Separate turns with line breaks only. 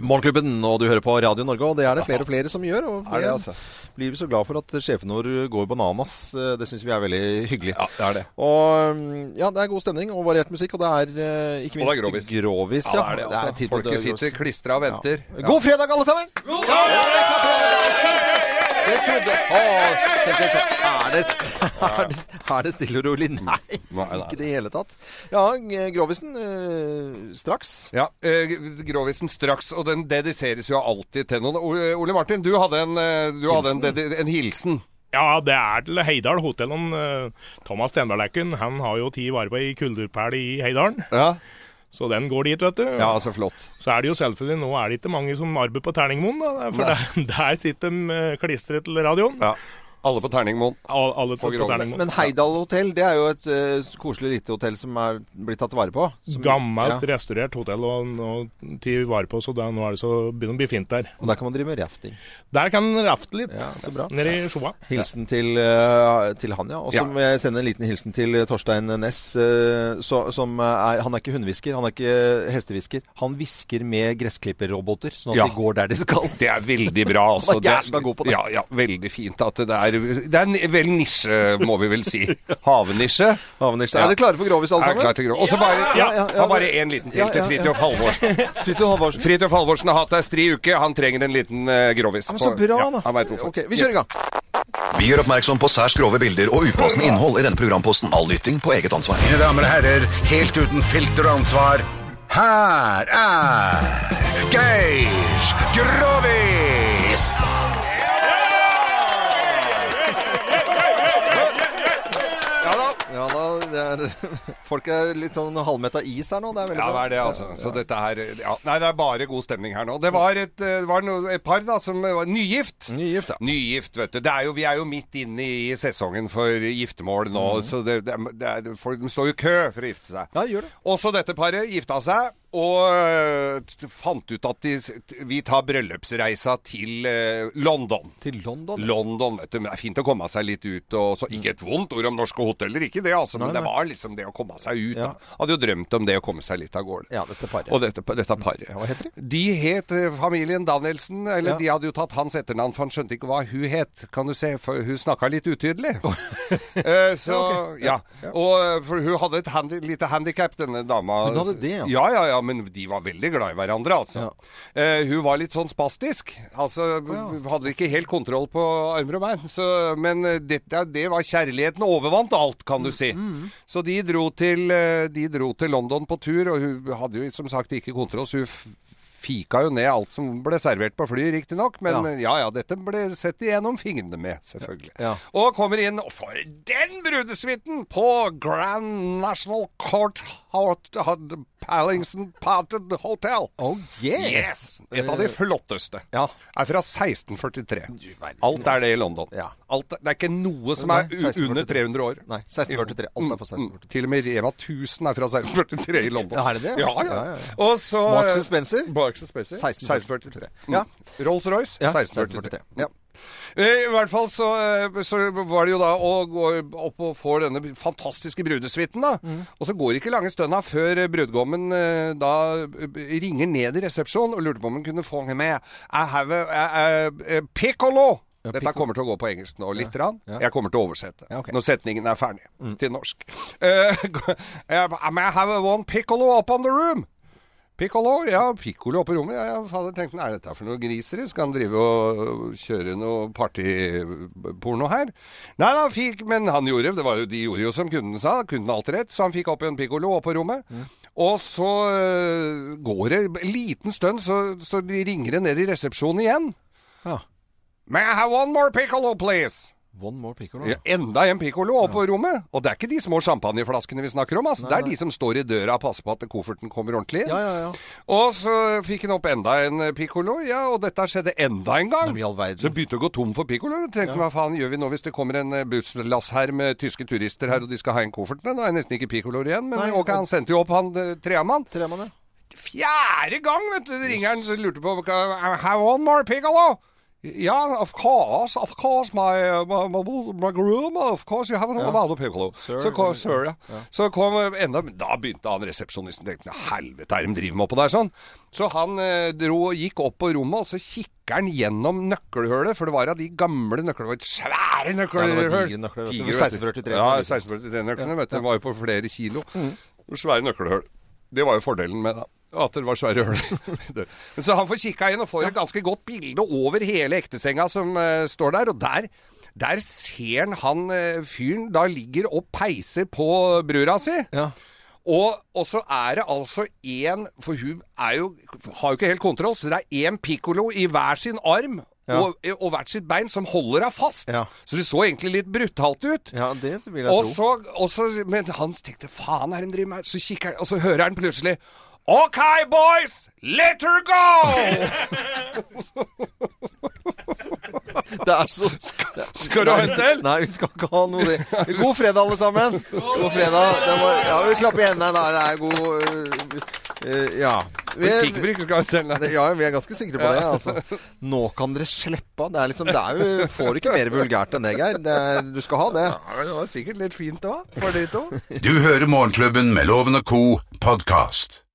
Morgenklubben, og du hører på Radio Norge, og det er det flere og flere som gjør. Og
Er det,
jeg
altså?
blir så glad for at sjefen vår går bananas. Eh, Det syns vi er veldig hyggelig.
Ja, det er det.
Og mm, ja, det er god stemning og variert musikk, og det er eh, ikke
Og
minst
det er grovis.
grovis,
Ja, det er det, altså.
tid på
Folket
grovis.
sitter klistra og venter.
Ja. God fredag, alle sammen! God fredag! Dere trodde Å, tenkte jeg sånn, er det, st- er, det, er det stille og rolig? Nei,
Mm. nei,
ikke i det hele tatt. Ja, g- Grovisen eh, straks.
Ja, eh, Grovisen straks, og den dediseres jo alltid til noen. O- Ole Martin, du hadde en, eh, du hadde en, dedi en hilsen.
Ja, det er til Heidal hotell. om, eh, Thomas Stenberglekken han har jo ti varme i kulturpæl i Heidalen,
Ja,
så den går dit, vet du.
ja så flott.
Så er det jo selvfølgelig, nå er det ikke mange som arbeider på Terningmoen, da, for der, der sitter de eh, klistret til radioen.
Ja. Alle på Terningmoen.
Al- Alle på,
Grovisen.
på Terningmoen.
Men Heidal hotell, det er jo et eh, koselig lite hotell som er blitt tatt vare på. Som,
Gammelt
ja,
restaurert hotell og, og ti vare på, så det, nå er det så begynner det å bli fint der.
Og der kan man drive med rafting.
Der kan en rafte litt,
Ja, så bra.
nede i Sjoa.
Hilsen til, eh, til han, ja. Og så
Ja.
må jeg sende en liten hilsen til Torstein Næss. eh, så- som er Han er ikke hundehvisker, han er ikke hestehvisker. Han hvisker med gressklipperroboter, sånn at
Ja.
de går der de skal.
Det er veldig bra, altså.
Han var jævla god på det.
Ja, ja, veldig fint at det er Det er en- vel nisje, må vi vel si. Havnisje.
Havnirstad. Er dere klare for Grovis, alle
Er klar
sammen?
til grov. Og så bare,
Ja, ja, ja.
ha bare en liten til
Ja,
til
ja, ja.
Fridtjof Halvorsen.
Fridtjof Halvorsen.
Fridtjof Halvorsen har hatt ei stri uke. Han trenger en liten eh, grovis.
Ja, men så
på-
bra,
ja,
da.
han vet hvorfor.
Ok, vi kjører i gang.
Vi gjør oppmerksom på særs grove bilder og upassende innhold i denne programposten. All lytting på eget ansvar.
Mine damer og herrer, helt uten filter og ansvar, her er Geir Grovis!
Ja da, det er, folk er litt sånn halvmetta is her nå. Det er veldig
Ja, hva
bra.
er det, altså? Så dette her ja. Nei, det er bare god stemning her nå. Det var et, eh, det var no, et par da som var nygift.
Nygift, ja.
Nygift, vet du. Det er jo, vi er jo midt inne i sesongen for giftermål nå, så det, det, er- det er, folk de står jo i kø for å gifte seg.
Mhm. Ja, gjør det.
Også dette paret gifta seg. Og eh, t- fant ut at de, s- t- vi tar bryllupsreisa til eh, London.
Til London.
London, vet du. Men det er fint å komme seg litt ut. Og så, ikke et vondt ord om norske hoteller, ikke det, altså. Men
Nei, nei.
det var liksom det å komme seg ut.
Ja.
Da. Hadde jo drømt om det å komme seg litt av gårde.
Ja, dette paret.
Og dette, dette paret.
Ja, hva heter de?
De het eh, familien Danielsen. Eller
Ja.
de hadde jo tatt hans etternavn, for han skjønte ikke hva hun het, kan du se. For hun snakka litt utydelig. Eh, så, ja, Og eh, for hun hadde et handi lite handikap, denne dama.
Hun hadde det, ja.
ja? Ja, ja, men de var veldig glad i hverandre, altså. Eh, hun var litt sånn spastisk. Altså, hadde ikke helt kontroll på armer og bein. Så, men eh, dette, det var kjærligheten overvant alt, kan
Mm,
du si. Så de dro, til, eh, de dro til London på tur, og hun hadde jo som sagt ikke kontroll, så hun f- fika jo ned alt som ble servert på flyet, riktignok. Men
Ja.
eh, ja ja, dette ble sett igjennom fingrene med, selvfølgelig.
Ja.
Og kommer inn og får den brudesuiten på Grand National Court Hot, Hot, Pallingson Parted Hotel.
Oh yeah!
Yes! Et av de flotteste.
Ja.
Er fra 1643. Alt er det i London.
Ja.
Alt, er- det er ikke noe som
Nei,
er u- under
1643.
300 år.
Nei, 1643. Alt er
Mm.
fra 1643.
Til og med Rema 1000 er fra 1643 i London.
Ja, er det det?
Ja, ja.
Ja, ja, ja.
Og så
Marks and Spencer?
Marks and Spencer.
1643.
1643.
Ja.
Mm. Rolls-Royce?
Ja, 1643.
1643.
Ja.
Eh, I hvert fall så, eh, så var det jo da å gå opp og få denne fantastiske brudesuiten, da.
Mm.
Og så går det ikke lange stønna før eh, brudgommen eh, da eh, ringer ned i resepsjonen og lurte på om hun kunne få henne med. I have a, a, a, a piccolo! Dette kommer til å gå på engelsk nå, litt. grann.
ja.
Jeg kommer til å oversette
Ja, ok. Mm.
når setningen er ferdig til norsk. Eh, I may have one piccolo up on the room. Piccolo, ja, piccolo oppe i rommet. Ja, ja, fader, tenkte han, er dette for noe griser? Skal han drive og øh, kjøre noe partyporno her? Nei, han fikk, men han gjorde, det var jo, de gjorde jo som kunden sa, kunden har alt rett, så han fikk opp en piccolo oppe i rommet.
Mm.
Og så øh, går det en liten stund, så, så de ringer det ned i resepsjonen igjen.
Ja.
May I have one more piccolo, please?
One more picker, da.
Ja, enda en piccolo oppe på rommet. Og det er ikke de små champagneflaskene vi snakker om, altså. det er de som står i døra og passer på at kofferten kommer ordentlig inn.
Ja, ja, ja.
Og så fikk han opp enda en eh, piccolo, ja, og dette skjedde enda en gang.
Nei, men i all verden.
Så begynte det å gå tom for piccolo. Jeg Tenkte hva faen gjør vi nå hvis det kommer en eh, busslass her med tyske turister her, og de skal ha en koffert? Nei, Nå er det nesten ikke piccoloer igjen, men
Nei,
ok,
og-
han sendte jo opp han eh, tremann.
Tremann, ja.
Fjerde gang, vet du, det ringer han, så lurte på hva- Have one more piccolo? Yeah, of course, of course, my, my, my, my groom, of course, you have an amado piccolo.
Sir,
så kom,
eller-
sir ja. så kom eh, enda, da begynte han resepsjonisten tenkte, helvete er de driver med oppå der sånn. Så han eh, dro, gikk opp på rommet, og så kikker han gjennom nøkkelhullet, for det var av de gamle nøkler, det var et svære nøkler.
Ja, det var digre nøkler, vet du.
Digre,
1643
Ja,
liksom.
1643-nøklene, vet du, var jo på flere kilo.
Mm.
Svære nøkkelhull. Det var jo fordelen med det. At det var svære hull. Det- Men så han får kikka inn og får et ganske godt bilde over hele ektesenga som eh, står der, og der der ser han han eh, fyren da ligger og peiser på brura si.
Ja.
Og, og så er det altså én For hun er jo, har jo ikke helt kontroll, så det er én pikkolo i hver sin arm
Ja.
og, og hvert sitt bein som holder henne fast.
Ja.
Så det så egentlig litt brutalt ut.
ja, det vil jeg
Og
tro.
så, og så Men han tenkte faen er det de driver med? Så kikker han, og så hører han plutselig OK, boys! Let her go!
Det er så
Skal du ha en til?
Nei, vi skal ikke ha noe det. God fredag, alle sammen. God fredag. Det var, ja, vi klapper i hendene. Nei, det er god øh, øh, Ja. Vi,
Sigbrik skal ha en til.
ja, vi er ganske sikre på det. Altså. Nå kan dere slippe av. Det er liksom, det er jo, får ikke mer vulgært enn det, Geir. Det er- Du skal ha det.
Ja, Det var sikkert litt fint òg, for de to.
Du hører Morgenklubben med Loven og Co. podkast.